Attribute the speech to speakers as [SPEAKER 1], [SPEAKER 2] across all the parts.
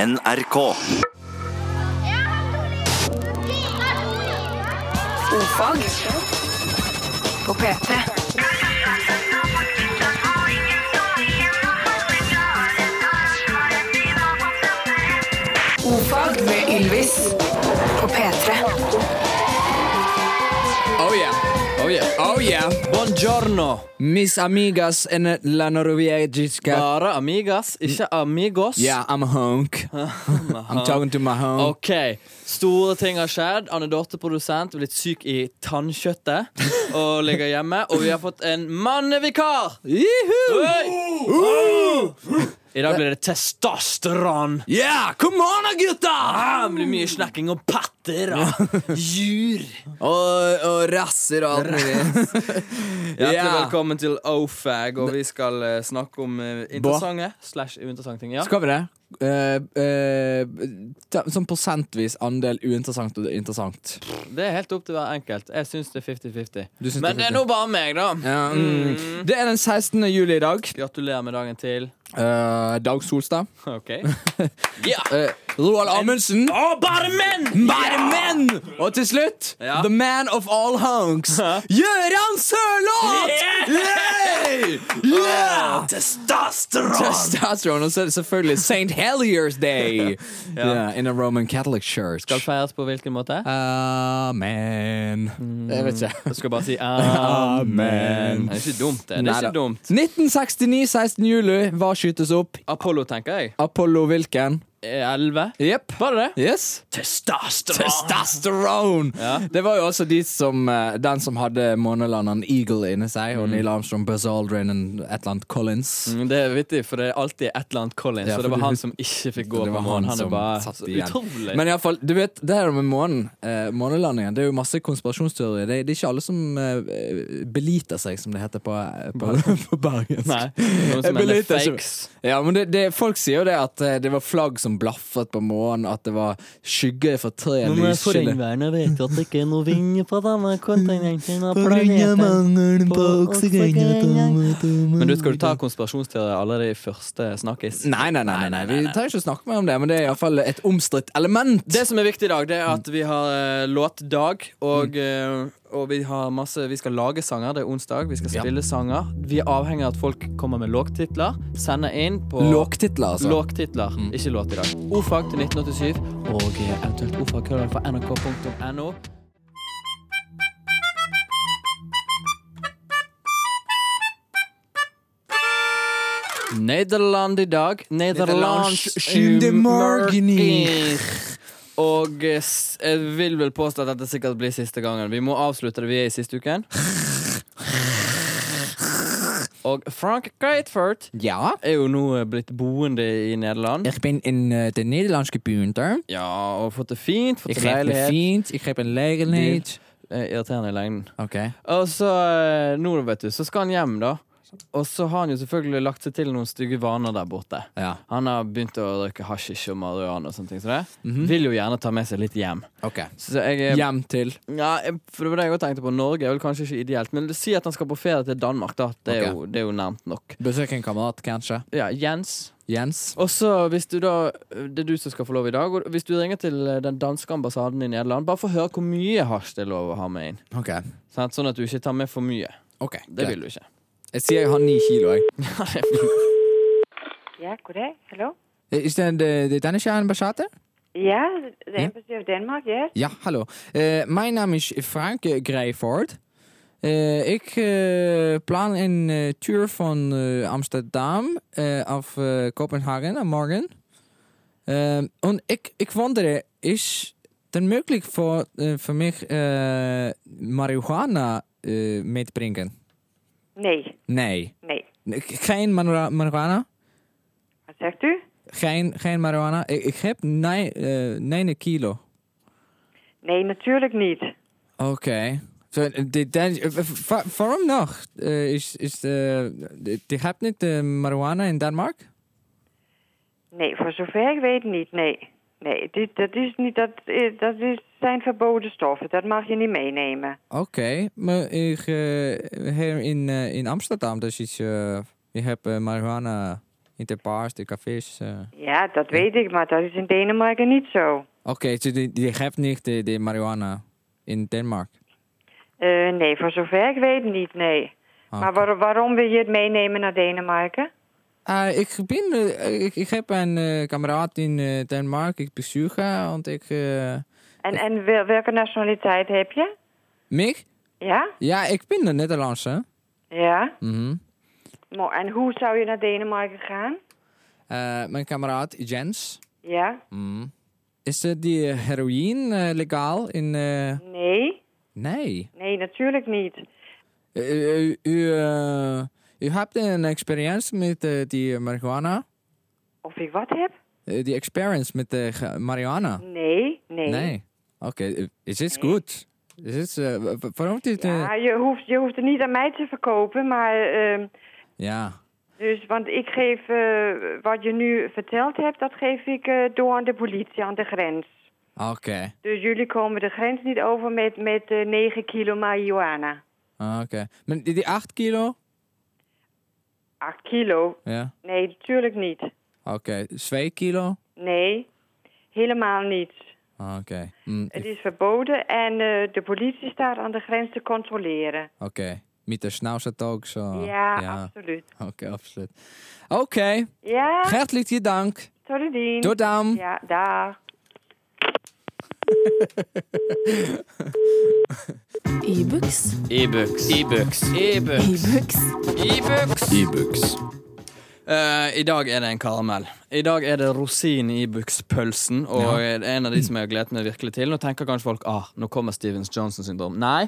[SPEAKER 1] NRK.
[SPEAKER 2] Ofag på P3. Ofag med Ylvis på P3.
[SPEAKER 3] Oh yeah. Oh yeah. Oh yeah.
[SPEAKER 4] Buongiorno.
[SPEAKER 3] Mis amigas en la norvegiska.
[SPEAKER 4] Bare amigas, ikke amigos.
[SPEAKER 3] Yeah, I'm a hunk. I'm talking to my hunk.
[SPEAKER 4] Ok, Store ting har skjedd. Anne Dorthe, produsent, er blitt syk i tannkjøttet og ligger hjemme. Og vi har fått en mannevikar! Oi! I dag blir det testosteron.
[SPEAKER 3] Yeah, come on, gutta!
[SPEAKER 4] Det blir mye snakking om patter og jur.
[SPEAKER 3] Og, og rasser og alt mulig.
[SPEAKER 4] Hjertelig
[SPEAKER 3] Ja.
[SPEAKER 4] velkommen til OFAG, og vi skal eh, snakke om eh, interessante slash uinteressante ting. Ja.
[SPEAKER 3] Skal vi det? Eh, eh, ta, sånn prosentvis andel uinteressant og interessant.
[SPEAKER 4] Det er helt opp til hver enkelt. Jeg syns det er 50-50.
[SPEAKER 3] Du syns det er
[SPEAKER 4] Men det er nå bare meg, da.
[SPEAKER 3] Ja, mm. Det er den 16. juli i dag.
[SPEAKER 4] Gratulerer med dagen til.
[SPEAKER 3] Eh, Dag Solstad.
[SPEAKER 4] Ok. Ja!
[SPEAKER 3] Eh, Roald Amundsen.
[SPEAKER 4] Å, bare menn!
[SPEAKER 3] Bare menn! Og til slutt,
[SPEAKER 4] Ja.
[SPEAKER 3] the man of all hunks,
[SPEAKER 4] Ja.
[SPEAKER 3] Gøran Sørloth! Yeah! Yeah!
[SPEAKER 4] Ah, Testosteron!
[SPEAKER 3] Testosteron, og så er det selvfølgelig St. Helier's Day yeah, in a Roman Catholic Church.
[SPEAKER 4] Skal feires på hvilken måte?
[SPEAKER 3] Amen.
[SPEAKER 4] Mm.
[SPEAKER 3] Jeg vet ikke.
[SPEAKER 4] Jeg skal bare si amen.
[SPEAKER 3] Amen.
[SPEAKER 4] Det er ikke dumt, det. Det er
[SPEAKER 3] ah, Neida.
[SPEAKER 4] ikke dumt.
[SPEAKER 3] 1969, 16. juli, hva skytes opp?
[SPEAKER 4] Apollo, tenker jeg.
[SPEAKER 3] Apollo hvilken?
[SPEAKER 4] Er 11.
[SPEAKER 3] Jepp.
[SPEAKER 4] Var det det?
[SPEAKER 3] Yes.
[SPEAKER 4] Testosteron!
[SPEAKER 3] Testosterone!
[SPEAKER 4] Ja.
[SPEAKER 3] Det var jo også de som, eh, den som hadde månelanderen Eagle inni seg,
[SPEAKER 4] Mm.
[SPEAKER 3] og Neil Armstrong, Buzz Aldrin og et eller annet Collins.
[SPEAKER 4] Det er vittig, for det er alltid et eller annet Collins.
[SPEAKER 3] Ja,
[SPEAKER 4] så
[SPEAKER 3] for
[SPEAKER 4] det var
[SPEAKER 3] du-
[SPEAKER 4] han som ikke fikk gå
[SPEAKER 3] Det
[SPEAKER 4] på
[SPEAKER 3] var
[SPEAKER 4] månen.
[SPEAKER 3] han
[SPEAKER 4] Han er
[SPEAKER 3] som
[SPEAKER 4] bare
[SPEAKER 3] satt
[SPEAKER 4] så
[SPEAKER 3] igjen.
[SPEAKER 4] utrolig
[SPEAKER 3] Men iallfall, du vet, det her med månen, eh, månelandingen, det er jo masse konspirasjonsteorier. Det, det er ikke alle som eh, beliter seg, som det heter på, eh, på, på bergensk.
[SPEAKER 4] Nei. Noen som mener
[SPEAKER 3] beliter seg.
[SPEAKER 4] fakes.
[SPEAKER 3] Ja, men det, det, Folk sier jo det at eh, det var flagg som blaffet på månen, at det var skygge fra tre lyskilder.
[SPEAKER 5] regnværet vet jo at det ikke er noe vind på denne kontinenten av planeten. på
[SPEAKER 4] Men du, skal du ta konspirasjonsteorier allerede i første snakkis?
[SPEAKER 3] Nei, nei, nei, nei, nei, vi trenger ikke å snakke mer om det, men det er iallfall et omstridt element.
[SPEAKER 4] Det som er viktig i dag, det er at vi har eh, låtdag, og, eh, og vi har masse Vi skal lage sanger. Det er onsdag. Vi skal
[SPEAKER 3] Ja.
[SPEAKER 4] spille sanger. Vi er avhengig av at folk kommer med låttitler. Sender inn på
[SPEAKER 3] Lågtitler, altså.
[SPEAKER 4] Lågtitler, ikke låt i dag. Ofag til 1987, og eh, eventuelt ofagkrøller på nrk.no. Nederland i dag. Nederlands
[SPEAKER 3] Nederlands skjundemorgenig.
[SPEAKER 4] Og eh, s- jeg vil vel påstå at dette sikkert blir siste gangen. Vi må avslutte det vi er i siste uken. Og Frank Greitfurt
[SPEAKER 3] Ja.
[SPEAKER 4] er jo nå eh, blitt boende i Nederland.
[SPEAKER 3] Jeg ben in eh, den nederlandske byen der.
[SPEAKER 4] Ja, og fått det fint. Fått
[SPEAKER 3] Jeg
[SPEAKER 4] det
[SPEAKER 3] greep det
[SPEAKER 4] leilighet.
[SPEAKER 3] fint. Jeg greip en leilighet.
[SPEAKER 4] Eh, Irriterende i lengden.
[SPEAKER 3] Ok.
[SPEAKER 4] Og så, eh, nå vet du, så skal han hjem, da. Og så har han jo selvfølgelig lagt seg til noen stygge vaner der borte.
[SPEAKER 3] Ja.
[SPEAKER 4] Han har begynt å drikke hasjisj og marihuana og sånne ting. Så det. Vil jo gjerne ta med seg litt hjem.
[SPEAKER 3] Ok.
[SPEAKER 4] Så jeg er
[SPEAKER 3] Mhm. Hjem til
[SPEAKER 4] Ja, jeg- for det var det jeg også tenkte på. Norge er vel kanskje ikke ideelt, men si at han skal på ferie til Danmark, da. Det er,
[SPEAKER 3] Ok.
[SPEAKER 4] jo, det er jo nærmt nok.
[SPEAKER 3] Besøk en kamerat, kanskje.
[SPEAKER 4] Ja, Jens.
[SPEAKER 3] Jens.
[SPEAKER 4] Og så, hvis du da Det er du som skal få lov i dag. Og hvis du ringer til eh, den danske ambassaden i Nederland, bare få høre hvor mye hasj det er lov å ha med inn.
[SPEAKER 3] Ok.
[SPEAKER 4] Sant? Sånn at du ikke tar med for mye.
[SPEAKER 3] Ok,
[SPEAKER 4] Det
[SPEAKER 3] greit.
[SPEAKER 4] vil du ikke.
[SPEAKER 3] Jeg sier jeg har ni kilo, jeg.
[SPEAKER 6] Ja, goddag. Hallo?
[SPEAKER 3] Is det, Eh, det, det denne skjæren ambassade?
[SPEAKER 6] Ja,
[SPEAKER 3] Hm?
[SPEAKER 6] det er Embassy of Denmark, yes.
[SPEAKER 3] Ja, hallo. Eh, Mijn naam is Frank eh, Greiford. Eh, ik eh, plan een eh, tour van eh, Amsterdam eh, af eh, Kopenhagen eh, morgen. Eh, en ik, ik wonder, is het mogelijk voor, eh, voor mij eh, marihuana eh, mee te brengen?
[SPEAKER 6] Nej,
[SPEAKER 3] Nee.
[SPEAKER 6] nej.
[SPEAKER 3] Geen manura- marihuana?
[SPEAKER 6] Hvad sagde du?
[SPEAKER 3] Geen, geen marihuana? Ik, ik heb 9 kilo.
[SPEAKER 6] Nej, natuurlijk niet.
[SPEAKER 3] Oké. Zo, dit- dit- eh, wa- wa- Waarom nog? Eh, Is, is de, de- die hebt niet de marijuana in Denemarken?
[SPEAKER 6] Nee, voor zover ik weet niet, nee. Nee, dit, dat, is niet, dat, eh, dat is, zijn verboden stoffen. Dat mag je niet meenemen.
[SPEAKER 3] Oké, maar ik, eh, hier in, eh, in Amsterdam, dus is, eh, je hebt eh, marijuana In de bars, de cafés. eh.
[SPEAKER 6] Ja, dat weet ik, maar dat is in Denemarken niet zo.
[SPEAKER 3] Oké, dus je- je hebt niet de, de marihuana in Denemarken.
[SPEAKER 6] Eh, nee, voor zover ik weet niet, nee.
[SPEAKER 3] Ah,
[SPEAKER 6] Maar
[SPEAKER 3] oké.
[SPEAKER 6] waar- waarom wil je het meenemen naar Denemarken?
[SPEAKER 3] Ah, ik, ben, eh, ik, ik heb een eh kameraad in eh, Denemarken, ik bezoek haar, want ik... eh
[SPEAKER 6] En, en wel- welke nationaliteit heb je?
[SPEAKER 3] Mich?
[SPEAKER 6] Ja?
[SPEAKER 3] Ja, ik ben de Nederlandse.
[SPEAKER 6] Ja?
[SPEAKER 3] Mhm.
[SPEAKER 6] Mo- En hoe zou je naar Denemarken gaan?
[SPEAKER 3] Eh, mijn kameraad Jens.
[SPEAKER 6] Ja?
[SPEAKER 3] Mhm. Is eh, die heroïne eh, legaal in... eh,
[SPEAKER 6] Nee?
[SPEAKER 3] Nee.
[SPEAKER 6] Nee, natuurlijk niet.
[SPEAKER 3] Eh, eh, u, eh, u hebt een experience met eh, die marihuana?
[SPEAKER 6] Of ik wat heb?
[SPEAKER 3] Eh, die experience met de ge- marihuana?
[SPEAKER 6] Nee, nee.
[SPEAKER 3] Nee. Oké, eh, is dit goed? Is dit... eh, wa- wa- waarom dit... eh,
[SPEAKER 6] Ja, je hoeft, je hoeft het niet aan mij te verkopen, maar... ehm,
[SPEAKER 3] ja.
[SPEAKER 6] dus, want ik geef eh, wat je nu verteld hebt, dat geef ik eh, door aan de politie aan de grens.
[SPEAKER 3] Oké.
[SPEAKER 6] Dus jullie komen de grens niet over met, met eh 9 kilo marihuana.
[SPEAKER 3] Ah, Oké. Maar die- Die 8 kilo?
[SPEAKER 6] 8 kilo?
[SPEAKER 3] Ja.
[SPEAKER 6] Nee, natuurlijk niet.
[SPEAKER 3] Oké. 2 kilo?
[SPEAKER 6] Nee, helemaal niet.
[SPEAKER 3] Ah, Oké. Mm,
[SPEAKER 6] Het
[SPEAKER 3] ik-
[SPEAKER 6] is verboden en eh, de politie staat aan de grens te controleren.
[SPEAKER 3] Oké. Met de snauwzet ook zo.
[SPEAKER 6] ja, absoluut.
[SPEAKER 3] Oké, absoluut. Oké.
[SPEAKER 6] Ja,
[SPEAKER 3] Hartelijk je dank.
[SPEAKER 6] tot de dienst.
[SPEAKER 3] Tot dan.
[SPEAKER 6] Ja, dag.
[SPEAKER 2] E-books.
[SPEAKER 4] E-books. E-books. E-books.
[SPEAKER 2] E-books.
[SPEAKER 4] E-books.
[SPEAKER 1] E-books.
[SPEAKER 4] Eh, I dag er det en karamell. I dag er det rosin i bukspølsen. Og er det en av de som jeg har gledet meg virkelig til. Nå tenker kanskje folk ah, nå kommer Stevens Johnson-syndrom. Nei,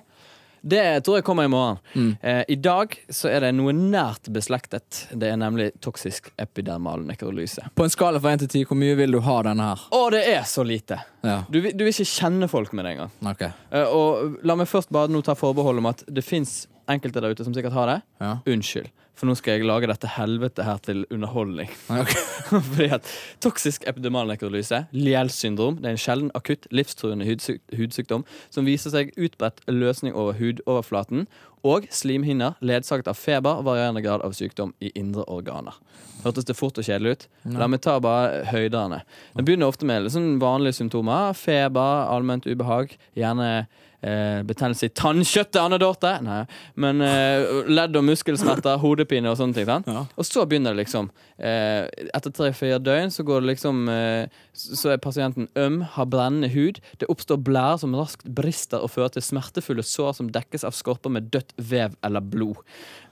[SPEAKER 4] det tror jeg kommer i morgen. Eh, I dag så er det noe nært beslektet. Det er nemlig toksisk epidermal nekrolyse.
[SPEAKER 3] På en skala fra 1 til 10, hvor mye vil du ha den her?
[SPEAKER 4] Og det er så lite!
[SPEAKER 3] Ja,
[SPEAKER 4] Du, vil- du vil ikke kjenne folk med det engang.
[SPEAKER 3] ok.
[SPEAKER 4] Eh, og la meg først bare nå ta forbehold om at det fins enkelte der ute som sikkert har det.
[SPEAKER 3] Ja.
[SPEAKER 4] Unnskyld, for nå skal jeg lage dette helvete her til underholdning.
[SPEAKER 3] Ok.
[SPEAKER 4] Fordi at Toksisk epidermal nekrolyse, Liels syndrom, det er en sjelden akutt livstruende hudsyk hudsykdom som viser seg utbredt løsning over hudoverflaten og slimhinner ledsaget av feber og varierende grad av sykdom i indre organer. Hørtes det fort og kjedelig ut? La meg ta bare høydene. Den begynner ofte med litt sånn vanlige symptomer. Feber, allment ubehag, gjerne eh, betennelse i tannkjøttet, Anne Dorte. Nei. Men eh, ledd og muskelsmerter, hodepine og sånne ting. Sant?
[SPEAKER 3] Ja.
[SPEAKER 4] Og så begynner det liksom eh, Etter tre-fire døgn så går det liksom eh, Så er pasienten øm, har brennende hud. Det oppstår blærer som raskt brister og fører til smertefulle sår som dekkes av skorper med dødt vev eller blod.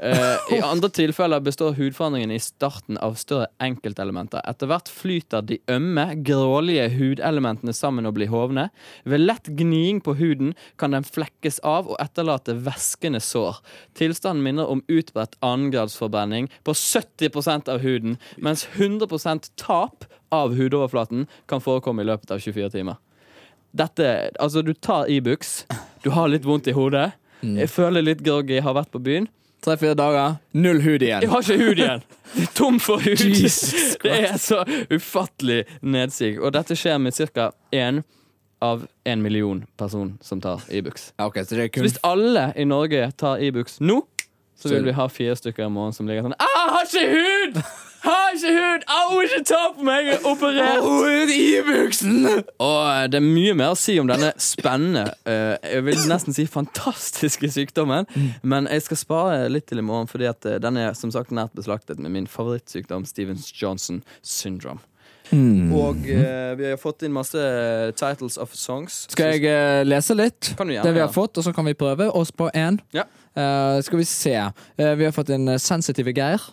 [SPEAKER 4] Eh, I andre tilfeller består hudforandringen i starten av større enkeltelementer. Etter hvert flyter de ømme, grålige hudelementene sammen og blir hovne. Ved lett gniing på huden kan den flekkes av og etterlate væskende sår. Tilstanden minner om utbredt annengradsforbrenning på 70 av huden, mens 100 tap av hudoverflaten kan forekomme i løpet av 24 timer. Dette, altså Du tar Ibux, du har litt vondt i hodet, jeg føler litt groggy, har vært på byen.
[SPEAKER 3] Tre-fire dager, null hud
[SPEAKER 4] Jeg
[SPEAKER 3] igjen.
[SPEAKER 4] har ikke hud igjen! Det er tom for hud! det er så ufattelig nedsig. Og dette skjer med ca. én av en million person som tar Ibux.
[SPEAKER 3] Ok, så det er
[SPEAKER 4] Så
[SPEAKER 3] kun...
[SPEAKER 4] hvis alle i Norge tar Ibux nå, så vil vi ha fire stykker i morgen som ligger sånn ah, 'Har ikke hud! Har ikke hud! Au, ikke ta på meg! Jeg er operert!'
[SPEAKER 3] Hud i buksen!
[SPEAKER 4] Og eh, det er mye mer å si om denne spennende, eh, jeg vil nesten si fantastiske sykdommen. Men jeg skal spare litt til i morgen, fordi at eh, den er som sagt nært beslaktet med min favorittsykdom, Stevens Johnson syndrome.
[SPEAKER 3] Mm.
[SPEAKER 4] Og eh, vi har fått inn masse eh, titles of songs.
[SPEAKER 3] Skal jeg eh, lese litt?
[SPEAKER 4] Kan du gjerne,
[SPEAKER 3] det vi har
[SPEAKER 4] ja.
[SPEAKER 3] fått, og så kan vi prøve oss på én.
[SPEAKER 4] Ja.
[SPEAKER 3] Eh, skal vi se. Eh, vi har fått en eh, sensitive Geir.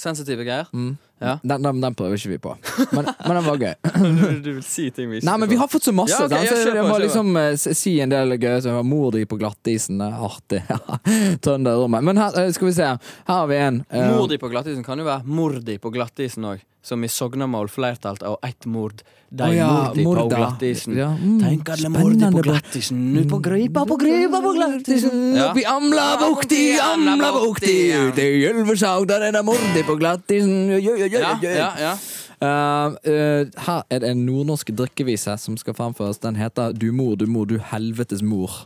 [SPEAKER 4] Sensitive greier.
[SPEAKER 3] Mm.
[SPEAKER 4] Ja.
[SPEAKER 3] Den, den, den prøver ikke vi på. Men, men den var gøy.
[SPEAKER 4] Du, du vil si ting vi ikke
[SPEAKER 3] Nei, men vi har fått så masse.
[SPEAKER 4] Ja, ok,
[SPEAKER 3] sant?
[SPEAKER 4] ja,
[SPEAKER 3] så
[SPEAKER 4] kjør
[SPEAKER 3] jeg
[SPEAKER 4] på,
[SPEAKER 3] må
[SPEAKER 4] kjør
[SPEAKER 3] liksom eh, s- si en del gøy. Så jeg var mor di på glattisen. Det er artig. Trønderrommet. Men her, eh, skal vi se. Her har vi en. eh,
[SPEAKER 4] Mordi på glattisen kan jo være mordi på glattisen òg. Som i Sognamål flertalt av ett mord. De
[SPEAKER 3] Å ja,
[SPEAKER 4] mordi på
[SPEAKER 3] morda.
[SPEAKER 4] glattisen.
[SPEAKER 3] Ja, mm,
[SPEAKER 4] Tenk alle mordi på
[SPEAKER 3] spennende. Mm.
[SPEAKER 4] glattisen. Nu på grypa, på grypa, på glattisen.
[SPEAKER 3] Oppi Amlabukti, Amlabukti. Ute i Ylveshaug, der er det mordi på glattisen. Ja, ja, ja,
[SPEAKER 4] Ja,
[SPEAKER 3] ja,
[SPEAKER 4] ja, ja.
[SPEAKER 3] Eh, eh, her er det en nordnorsk drikkevise som skal framføres. Den heter Du mor, du mor, du helvetes mor.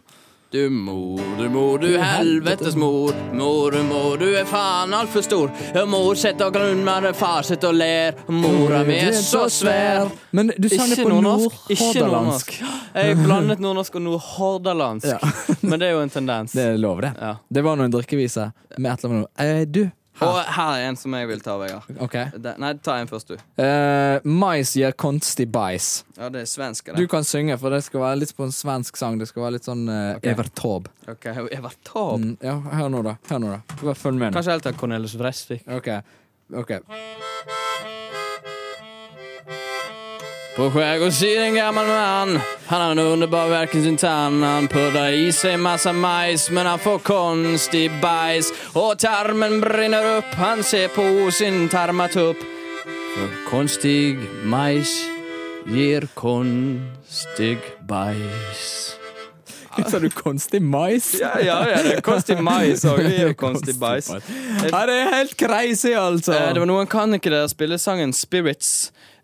[SPEAKER 4] Du mor, du mor, du helvetes mor. Mor, du mor, du er faen altfor stor. Mor sitter og grunner, far sitter og ler. Mora mi er så svær.
[SPEAKER 3] Men du sang det
[SPEAKER 4] Ikke
[SPEAKER 3] på
[SPEAKER 4] nordnorsk. Ikke
[SPEAKER 3] nordhordalandsk.
[SPEAKER 4] nordnorsk. Jeg blandet nordnorsk og nordhordalandsk.
[SPEAKER 3] Ja.
[SPEAKER 4] Men det er jo en tendens.
[SPEAKER 3] Det lover det.
[SPEAKER 4] Ja.
[SPEAKER 3] Det var nå en drikkevise med et eller annet eh, Du,
[SPEAKER 4] Og
[SPEAKER 3] her.
[SPEAKER 4] her er en som jeg vil ta, Vegard.
[SPEAKER 3] OK.
[SPEAKER 4] Det- Nei, ta en først, du.
[SPEAKER 3] Eh, mais gir konstig bæsj.
[SPEAKER 4] Ja, det er svensk.
[SPEAKER 3] Du
[SPEAKER 4] det.
[SPEAKER 3] kan synge, for det skal være litt på en svensk sang. Det skal være litt sånn eh,
[SPEAKER 4] Ok.
[SPEAKER 3] Evert Taube.
[SPEAKER 4] Ok, Evert Taube.
[SPEAKER 3] Mm, ja, hør nå, da. Hør nå, da. Bare Følg med nå.
[SPEAKER 4] Kanskje helt av Cornelis Vreeswijk.
[SPEAKER 3] OK. ok
[SPEAKER 4] På skärgårdssidan en gammal man Han har en underbar verkensintann Han puddar i sig massa majs Men han får konstig bajs Och tarmen brinner upp Han ser på sin tarmatupp För konstig majs ger konstig bajs
[SPEAKER 3] Sa du konstig mais?
[SPEAKER 4] Ja, ja, ja, det er konstig majs òg. Det er jo konstig
[SPEAKER 3] Konstig
[SPEAKER 4] bajs.
[SPEAKER 3] bajs. Ja, det er helt crazy, altså!
[SPEAKER 4] Eh, det var noen kronikere som spilte sangen Spirits.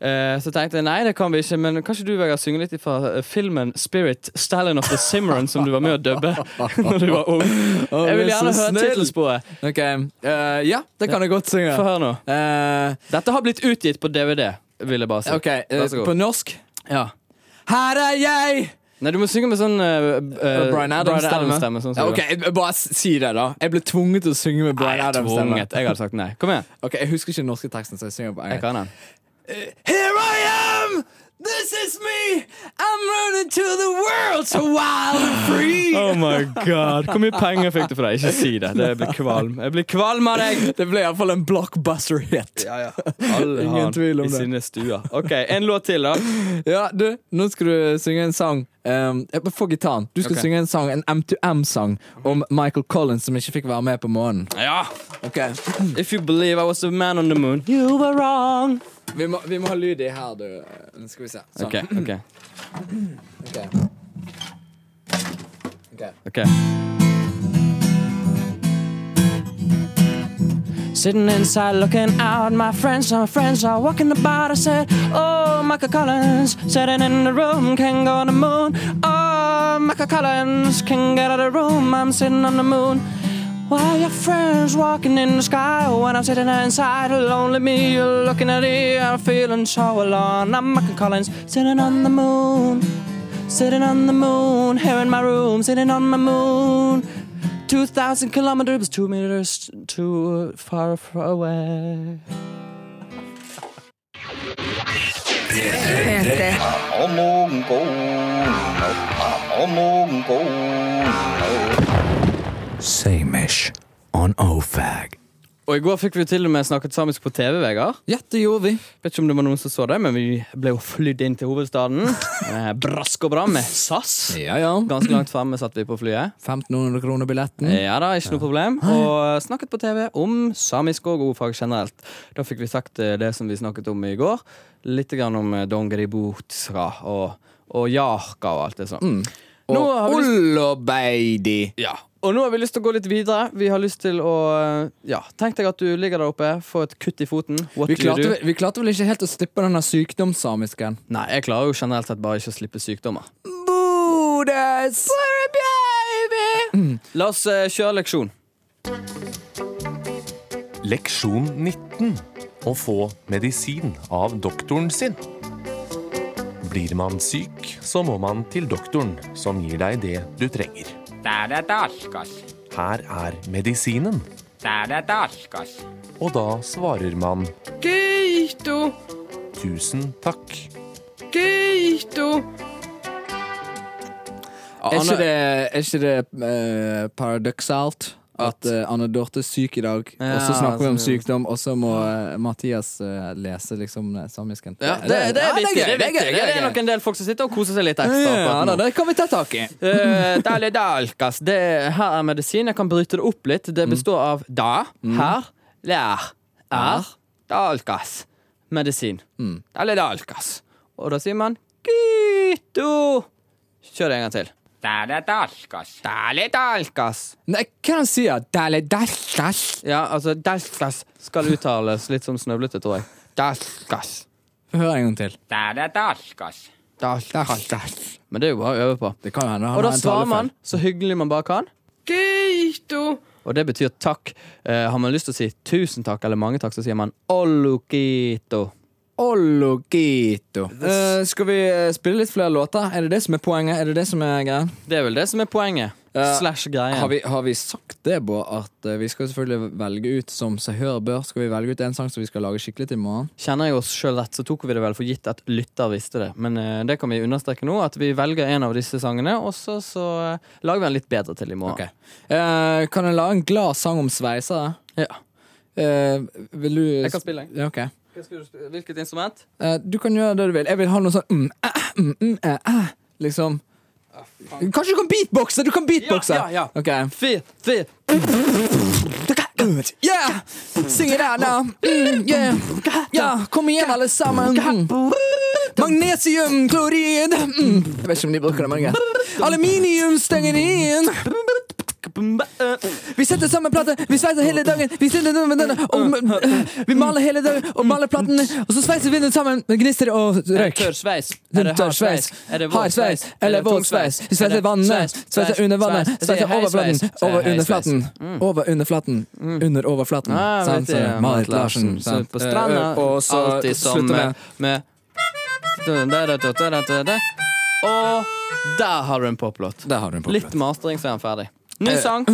[SPEAKER 4] Eh, så tenkte jeg nei, det kan vi ikke, men kanskje du Vegard synge litt fra eh, filmen Spirit, Stalin of the Simran, som du var med å dubbe Når du var ung.
[SPEAKER 3] Å,
[SPEAKER 4] Jeg
[SPEAKER 3] du
[SPEAKER 4] vil
[SPEAKER 3] er
[SPEAKER 4] gjerne
[SPEAKER 3] så
[SPEAKER 4] høre
[SPEAKER 3] snill.
[SPEAKER 4] tittelsporet.
[SPEAKER 3] Ok, eh, Ja, det kan jeg godt synge.
[SPEAKER 4] Få høre nå.
[SPEAKER 3] Eh,
[SPEAKER 4] Dette har blitt utgitt på DVD, vil jeg bare si.
[SPEAKER 3] OK, eh,
[SPEAKER 4] Vær så god.
[SPEAKER 3] på norsk.
[SPEAKER 4] Ja.
[SPEAKER 3] Her er jeg!
[SPEAKER 4] Nei, du må synge med sånn eh, eh,
[SPEAKER 3] Brian Adams-stemme.
[SPEAKER 4] Adams-stemme, sånn som
[SPEAKER 3] ja,
[SPEAKER 4] du
[SPEAKER 3] ok,
[SPEAKER 4] var.
[SPEAKER 3] jeg- Bare s- si det, da. Jeg ble tvunget til å synge med
[SPEAKER 4] Nei,
[SPEAKER 3] Brian
[SPEAKER 4] jeg er
[SPEAKER 3] Adams-stemme.
[SPEAKER 4] tvunget. Jeg hadde sagt nei. Kom igjen.
[SPEAKER 3] Ok, Jeg husker ikke den norske teksten, så jeg synger på
[SPEAKER 4] Jeg
[SPEAKER 3] engelsk.
[SPEAKER 4] kan den.
[SPEAKER 3] Here I am! This is me! I'm running to the world so wild and free!
[SPEAKER 4] Oh my god. Hvor mye penger fikk du for det? Ikke si det. det jeg blir kvalm. Jeg blir kvalm av deg!
[SPEAKER 3] Det ble iallfall en blockbuster-hit.
[SPEAKER 4] Ja, ja. Alle
[SPEAKER 3] Ingen
[SPEAKER 4] har han
[SPEAKER 3] tvil om
[SPEAKER 4] i
[SPEAKER 3] det.
[SPEAKER 4] sine stuer. Ok, en låt til, da.
[SPEAKER 3] Ja, du, nå skal du synge en sang. Um, jeg bare Få gitaren. Du skal
[SPEAKER 4] Ok.
[SPEAKER 3] synge en sang, en M2M-sang om Michael Collins som ikke fikk være med på månen.
[SPEAKER 4] Ja.
[SPEAKER 3] Ok,
[SPEAKER 4] If you believe I was a man on the moon, you were wrong.
[SPEAKER 3] Vi må, vi må ha lyd i her, du. Nå Skal vi se. Sånn.
[SPEAKER 4] Ok, ok,
[SPEAKER 3] Ok. Ok.
[SPEAKER 4] ok Sitting inside looking out, my friends, my friends are walking about. I said, Oh, Michael Collins, sitting in the room, can go on the moon. Oh, Michael Collins, can get out of the room, I'm sitting on the moon. While your friends walking in the sky, when I'm sitting inside, lonely me, you're looking at me, I'm feeling so alone. I'm Michael Collins, sitting on the moon, sitting on the moon, here in my room, sitting on my moon. 2,000 kilometers, two meters too far, far away.
[SPEAKER 2] P3.
[SPEAKER 1] Samish on OFAG.
[SPEAKER 4] Og i går fikk vi til og med snakket samisk på TV, Vegard.
[SPEAKER 3] Ja, det gjorde vi.
[SPEAKER 4] Vet ikke om det var noen som så det, men vi ble jo flydd inn til hovedstaden. Eh, Brask og bram med SAS.
[SPEAKER 3] Ja, ja.
[SPEAKER 4] Ganske langt fremme satt vi på flyet.
[SPEAKER 3] 1500 kroner billetten.
[SPEAKER 4] Eh, Ja da, ikke noe problem. Og eh, snakket på TV om samisk og ordfag generelt. Da fikk vi sagt eh, det som vi snakket om i går. Litt grann om eh, dongeributsra og, og jarka og alt det sånn.
[SPEAKER 3] Mm. Og
[SPEAKER 4] Nå har vi lyst-
[SPEAKER 3] Olobeidi.
[SPEAKER 4] Ja. Og nå har vi lyst til å gå litt videre. Vi har lyst til å eh, Ja, tenk deg at du ligger der oppe, får et kutt i foten. What
[SPEAKER 3] Vi
[SPEAKER 4] do you
[SPEAKER 3] klarte,
[SPEAKER 4] do?
[SPEAKER 3] vel- vi klarte vel ikke helt å slippe denne sykdomssamisken.
[SPEAKER 4] Nei, jeg klarer jo generelt sett bare ikke å slippe sykdommer.
[SPEAKER 3] Bodes!
[SPEAKER 4] La oss eh, kjøre leksjon.
[SPEAKER 7] Leksjon 19. Å få medisin av doktoren sin. Blir man syk, så må man til doktoren, som gir deg det du trenger. Her er medisinen. Og da svarer man Tusen takk.
[SPEAKER 3] Er ikke det, er ikke det eh, paradoksalt? At eh, Anne Dorthe er syk i dag,
[SPEAKER 4] Ja, altså-
[SPEAKER 3] og så snakker vi om
[SPEAKER 4] så-
[SPEAKER 3] sykdom, og så må eh, Mathias eh, lese liksom eh, samisken.
[SPEAKER 4] Ja, det, det er
[SPEAKER 3] Ja,
[SPEAKER 4] viktig. Det
[SPEAKER 3] gøy,
[SPEAKER 4] er, viktig.
[SPEAKER 3] gøy,
[SPEAKER 4] Det
[SPEAKER 3] gøy.
[SPEAKER 4] er nok en del folk som sitter og koser seg litt ekstra.
[SPEAKER 3] Ja,
[SPEAKER 4] akkurat nå.
[SPEAKER 3] da, det kan vi ta tak i.
[SPEAKER 4] Eh, Dali dalkas. Det, her er medisin. Jeg kan bryte det opp litt. Det består av da, her, lær, er, dalkas. Medisin. Dali dalkas. Og da sier man gito. Kjør det en gang til. Dali dalkas.
[SPEAKER 3] Nei, hva han sier Dale dalkas.
[SPEAKER 4] Ja, altså dalkas skal uttales litt som snøvlete, tror jeg. Dalkas.
[SPEAKER 3] Hør en gang til.
[SPEAKER 4] Dalkas. Men det er jo bare å øve på.
[SPEAKER 3] Det kan jo hende han
[SPEAKER 4] Og da
[SPEAKER 3] har en
[SPEAKER 4] svarer
[SPEAKER 3] talefeil.
[SPEAKER 4] man så hyggelig man bare kan. Og det betyr takk. Eh, har man lyst til å si tusen takk eller mange takk, så sier man olukito.
[SPEAKER 3] Ologito. Eh, skal vi eh, spille litt flere låter? Er det det som er poenget? Er det det som er greia?
[SPEAKER 4] Det er vel det som er poenget.
[SPEAKER 3] Ja.
[SPEAKER 4] Slash greia.
[SPEAKER 3] Har, vi- har vi sagt det, Bård, at eh, vi skal selvfølgelig velge ut som seg hør bør? Skal vi velge ut en sang som vi skal lage skikkelig til i morgen?
[SPEAKER 4] Kjenner jeg oss sjøl rett, så tok vi det vel for gitt at lytter visste det. Men eh, det kan vi understreke nå, at vi velger en av disse sangene, og så, så eh, lager vi en litt bedre til i morgen.
[SPEAKER 3] Ok. Eh, kan jeg lage en glad sang om sveisere?
[SPEAKER 4] Ja.
[SPEAKER 3] Eh, vil du
[SPEAKER 4] Jeg kan spille en.
[SPEAKER 3] Ja, ok.
[SPEAKER 4] Hvilket instrument?
[SPEAKER 3] Eh, du kan gjøre det du vil. Jeg vil ha noe sånn mm, eh, mm, mm, eh, eh, Liksom. Kanskje du kan beatboxe? Du kan beatboxe!
[SPEAKER 4] Ja, ja, ja.
[SPEAKER 3] Ok.
[SPEAKER 4] Fyr, fyr.
[SPEAKER 3] Yeah! Synge der, da. Mm, yeah. Ja, kom igjen, alle sammen. Mm. Magnesiumklorid. Mm. Jeg vet ikke om de bruker det, men greit. Aluminiumstengerin. Vi setter sammen plater, vi sveiser hele dagen. Vi, setter den med denne, og, vi maler hele dagen og maler platene, og så sveiser vi den sammen med gnister og
[SPEAKER 4] Er det
[SPEAKER 3] røyk.
[SPEAKER 4] tørr sveis?
[SPEAKER 3] Den
[SPEAKER 4] Er det
[SPEAKER 3] tørr
[SPEAKER 4] hard
[SPEAKER 3] sveis?
[SPEAKER 4] sveis? Er det
[SPEAKER 3] Hard
[SPEAKER 4] våt
[SPEAKER 3] sveis?
[SPEAKER 4] sveis?
[SPEAKER 3] Eller
[SPEAKER 4] Er det tung
[SPEAKER 3] våt sveis?
[SPEAKER 4] sveis?
[SPEAKER 3] Vi
[SPEAKER 4] Er
[SPEAKER 3] sveiser
[SPEAKER 4] det
[SPEAKER 3] vannet,
[SPEAKER 4] sveis?
[SPEAKER 3] sveiser
[SPEAKER 4] Sveis?
[SPEAKER 3] under vannet,
[SPEAKER 4] Sveis? Jeg
[SPEAKER 3] sveiser
[SPEAKER 4] sier
[SPEAKER 3] over
[SPEAKER 4] hei, sveis.
[SPEAKER 3] flaten,
[SPEAKER 4] Jeg sier
[SPEAKER 3] over
[SPEAKER 4] hei,
[SPEAKER 3] under
[SPEAKER 4] sveis. Mm.
[SPEAKER 3] flaten, over under flaten, under over flaten.
[SPEAKER 4] Ah,
[SPEAKER 3] Sant,
[SPEAKER 4] vet
[SPEAKER 3] så
[SPEAKER 4] jeg,
[SPEAKER 3] Marit Larsen.
[SPEAKER 4] Så
[SPEAKER 3] sant.
[SPEAKER 4] på stranda,
[SPEAKER 3] Eh, og så
[SPEAKER 4] alltid som
[SPEAKER 3] slutter
[SPEAKER 4] med,
[SPEAKER 3] med
[SPEAKER 4] med Og der har du en poplåt.
[SPEAKER 3] Der har du en
[SPEAKER 4] Litt
[SPEAKER 3] poplåt. Eh.
[SPEAKER 4] mastering, så er den ferdig. Ny sang.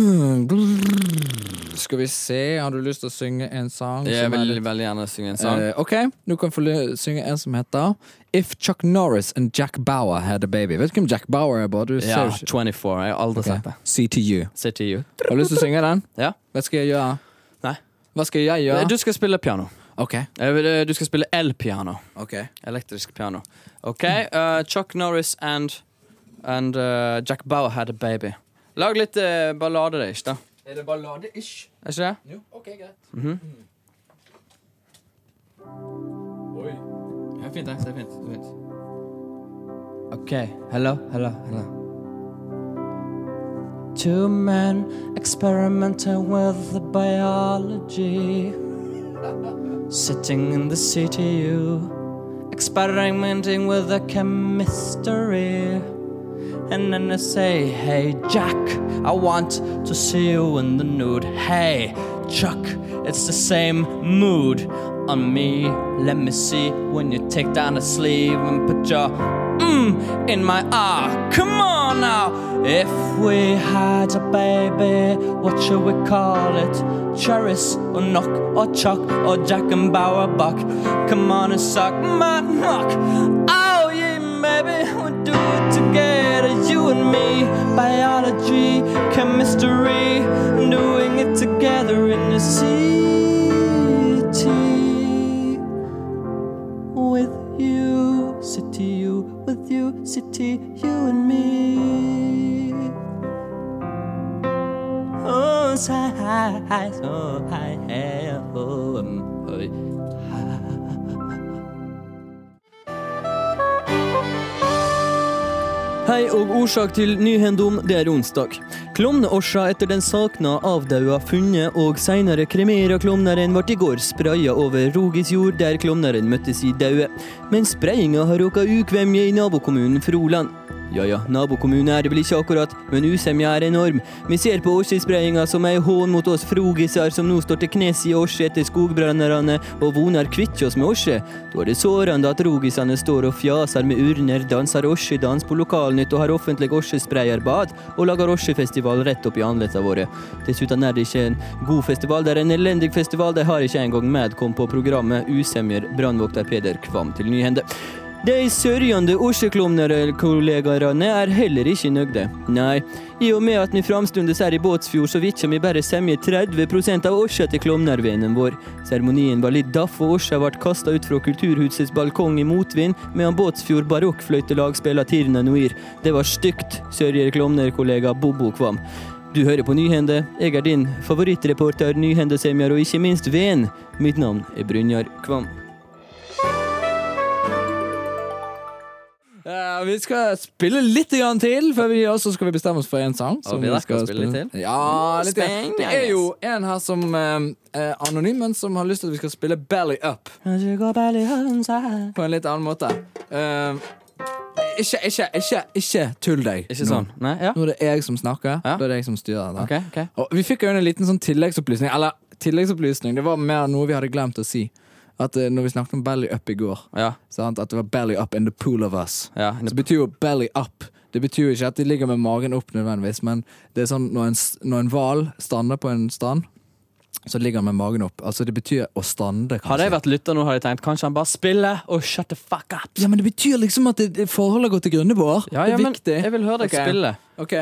[SPEAKER 3] Skal vi se, har du lyst til å synge en sang?
[SPEAKER 4] Jeg
[SPEAKER 3] som er
[SPEAKER 4] vil
[SPEAKER 3] litt-
[SPEAKER 4] veldig gjerne synge en sang.
[SPEAKER 3] Eh, ok, du kan få ly- synge en som heter If Chuck Norris and Jack Bauer Had a Baby. Vet du hvem Jack Bauer er, Bård? Du
[SPEAKER 4] Ja,
[SPEAKER 3] ser jo ikke-
[SPEAKER 4] 24. Jeg har aldri sett det.
[SPEAKER 3] See to you.
[SPEAKER 4] Say to you.
[SPEAKER 3] Har du lyst til å synge den?
[SPEAKER 4] Ja.
[SPEAKER 3] Hva skal jeg gjøre?
[SPEAKER 4] Nei.
[SPEAKER 3] Hva skal jeg gjøre?
[SPEAKER 4] Eh, Du skal spille piano.
[SPEAKER 3] Ok.
[SPEAKER 4] Eh, vil- Du skal spille elpiano.
[SPEAKER 3] ok.
[SPEAKER 4] Elektrisk piano. OK. eh, Chuck Norris and, and eh, Jack Bauer had a baby. Lag litt eh, ballade, det, ikke da?
[SPEAKER 3] Er det ballade-ish?
[SPEAKER 4] Er ikke det? Mhm.
[SPEAKER 3] Jo, Mm. ok, greit. Oi.
[SPEAKER 4] Ja, fint, det. Det er fint. Det er fint. OK. Hello, hello, hello. Two men experimenting with the biology. Sitting in the CTU. Experimenting with the chemistry. And then I say, hey Jack, I want to see you in the nude. Hey Chuck, it's the same mood on me. Let me see when you take down the sleeve and put your mmm in my ah. Come on now. If we had a baby, what should we call it? Cherries or knock or chuck or Jack and Bauer buck. Come on and suck my knock. Oh yeah, maybe we'll do it together, you and me. Biology, chemistry, doing it together in the city with you, city you, with you, city you and me. Oh, so high, so high, yeah, oh, um, oh, yeah. Hei og årsak til nyhendom, det er onsdag. Klovneårsa etter den sakna, avdaua, funnet og seinere kremera klovneren ble i går spraya over Rogisjord, der klovneren møtte si daue. Men sprayinga har råka ukvemje i nabokommunen Froland. Ja ja, nabokommune er det vel ikke akkurat, men usemja er enorm. Vi ser på årssprayinga som ei hån mot oss frogisar som nå står til knes i års etter skogbrannerne og vonar kvitt oss med årset. Da er det sårende at rogisene står og fjaser med urner, danser osjedans på lokalnytt og har offentlig osjesprayerbad og lager osjefestival rett opp i anlettene våre. Dessuten er det ikke en god festival, det er en elendig festival, de har ikke engang Madcom på programmet, usemjer brannvokter Peder Kvam til nyhende. De sørgende osjeklovnerkollegaene er heller ikke nøgde. Nei, i og med at vi framstundes er i Båtsfjord, så vil ikke vi bare semje 30 av osja til klovnervenen vår. Seremonien var litt daff, og osja ble kasta ut fra kulturhusets balkong i motvind, medan Båtsfjord barokkfløytelag spiller Tirna Noir. Det var stygt, sørger klovnerkollega Bobo Kvam. Du hører på Nyhende. Jeg er din favorittreporter, Nyhendesemjer, og ikke minst venn. Mitt navn er Brynjar Kvam.
[SPEAKER 3] Eh, vi skal spille litt grann til før vi gir oss, så skal vi bestemme oss for en sang. som
[SPEAKER 4] vi rekker å spille litt til?
[SPEAKER 3] Ja, litt grann.
[SPEAKER 4] Spennende.
[SPEAKER 3] Det er jo en her som eh, er anonym, men som har lyst til at vi skal spille Belly Up
[SPEAKER 5] Kanskje gå bare i hønsa.
[SPEAKER 3] på en litt annen måte. Eh, ikke, ikke, ikke, ikke tull deg.
[SPEAKER 4] Ikke
[SPEAKER 3] nå.
[SPEAKER 4] sånn? Nei? Ja?
[SPEAKER 3] Nå er det jeg som snakker.
[SPEAKER 4] Ja.
[SPEAKER 3] Da er det jeg som styrer. Da.
[SPEAKER 4] Ok, ok
[SPEAKER 3] Og vi fikk jo en liten sånn tilleggsopplysning. Eller tilleggsopplysning, det var mer noe vi hadde glemt å si. At eh, når vi snakket om belly up i går,
[SPEAKER 4] Ja,
[SPEAKER 3] sant? at det var belly up in the pool of us.
[SPEAKER 4] ja.
[SPEAKER 3] Så betyr jo belly up. Det betyr jo ikke at de ligger med magen opp nødvendigvis, men det er sånn når en, s- når en hval stander på en strand, så ligger han med magen opp. Altså det betyr å stande, kanskje.
[SPEAKER 4] Hadde jeg vært lytter nå, hadde jeg tenkt kanskje han bare spiller og shut the fuck up.
[SPEAKER 3] Ja, men det betyr liksom at det- det forholdet går til grunne, Bård.
[SPEAKER 4] Ja,
[SPEAKER 3] det
[SPEAKER 4] ja,
[SPEAKER 3] er
[SPEAKER 4] men
[SPEAKER 3] viktig.
[SPEAKER 4] Jeg vil høre deg
[SPEAKER 3] Ok.
[SPEAKER 4] spille.
[SPEAKER 3] Ok,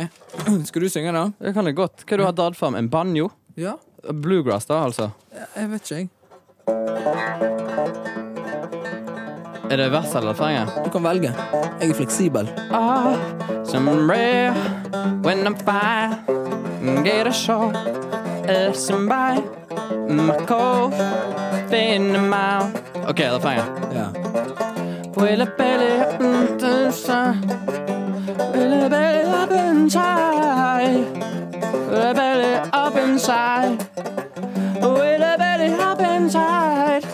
[SPEAKER 3] skal du synge da?
[SPEAKER 4] Det kan jeg godt. Hva du har dratt fram? En banjo?
[SPEAKER 3] Ja,
[SPEAKER 4] Bluegrass, da, altså.
[SPEAKER 3] jeg vet ikke jeg.
[SPEAKER 4] Er det verset eller refrenget?
[SPEAKER 3] Du kan velge. Jeg er fleksibel.
[SPEAKER 4] Ah, some rare when I'm fire Get a shot of somebody My cold in the mouth OK, refrenget.
[SPEAKER 3] Ja.
[SPEAKER 4] Will a belly up and do some Will a belly up inside Will a belly up inside Will a belly up inside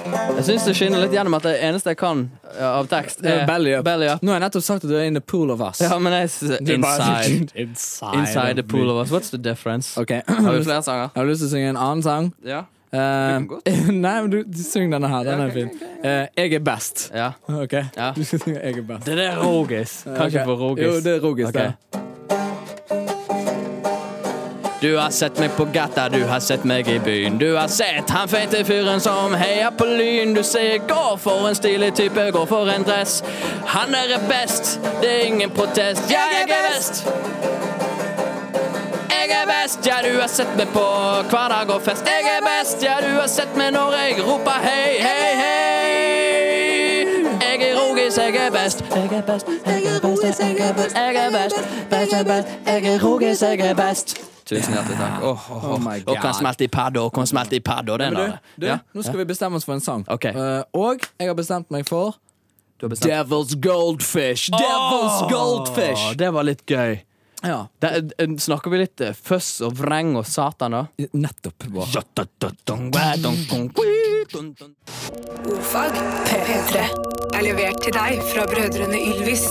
[SPEAKER 4] Jeg syns det skinner litt gjennom at det eneste jeg kan eh, av tekst,
[SPEAKER 3] Det
[SPEAKER 4] er
[SPEAKER 3] er belly up.
[SPEAKER 4] Belly up.
[SPEAKER 3] Nå har jeg nettopp sagt at du er in the pool of us.
[SPEAKER 4] Ja, men jeg synes Inside
[SPEAKER 3] inside.
[SPEAKER 4] Inside the pool of us What's the difference?
[SPEAKER 3] Ok, jeg
[SPEAKER 4] Har
[SPEAKER 3] har
[SPEAKER 4] vi
[SPEAKER 3] lyst-
[SPEAKER 4] flere sanger?
[SPEAKER 3] jeg har lyst til å synge en annen sang.
[SPEAKER 4] Ja
[SPEAKER 3] Eh,
[SPEAKER 4] Du kan godt.
[SPEAKER 3] nei, men du, du syng denne her. Den er fin. Eh, jeg er best.
[SPEAKER 4] Ja
[SPEAKER 3] Ok,
[SPEAKER 4] Ja.
[SPEAKER 3] Du skal synge 'Jeg er best'.
[SPEAKER 4] Det der er rogis Kanskje
[SPEAKER 3] Eh, Ok.
[SPEAKER 4] for rogis
[SPEAKER 3] Jo, det er rogis,
[SPEAKER 4] Ok.
[SPEAKER 3] det.
[SPEAKER 4] Du har sett meg på gata, du har sett meg i byen. Du har sett han feite fyren som heier på lyn. Du ser gå for en stilig type, gå for en dress. Han er best, det er ingen protest. Ja, jeg er best! Jeg er best, ja, du har sett meg på hverdag og fest. Jeg er best, ja, du har sett meg når jeg roper hei, hei, hei. Jeg er rogis, jeg er best. Jeg er best, jeg er best, jeg er best. Jeg er best, best, jeg er best. Jeg er rogis, jeg er best. Tusen hjertelig takk. Åh, åh, åh.
[SPEAKER 3] Oh my
[SPEAKER 4] Og kan
[SPEAKER 3] God.
[SPEAKER 4] smelte i padda, og kan smelte i padda. Den
[SPEAKER 3] Men du,
[SPEAKER 4] har jeg.
[SPEAKER 3] du
[SPEAKER 4] Ja.
[SPEAKER 3] nå skal vi bestemme oss for en sang.
[SPEAKER 4] Ok.
[SPEAKER 3] Eh, og jeg har bestemt meg for
[SPEAKER 4] Du har bestemt.
[SPEAKER 3] Devil's Goldfish. Devil's
[SPEAKER 4] Åh,
[SPEAKER 3] Goldfish!
[SPEAKER 4] Det var litt gøy.
[SPEAKER 3] Ja,
[SPEAKER 4] Det- eh, snakker vi litt eh, føss og vreng og satan, da?
[SPEAKER 3] nettopp. Bra.
[SPEAKER 2] Ofag på P3 er levert til deg fra brødrene Ylvis.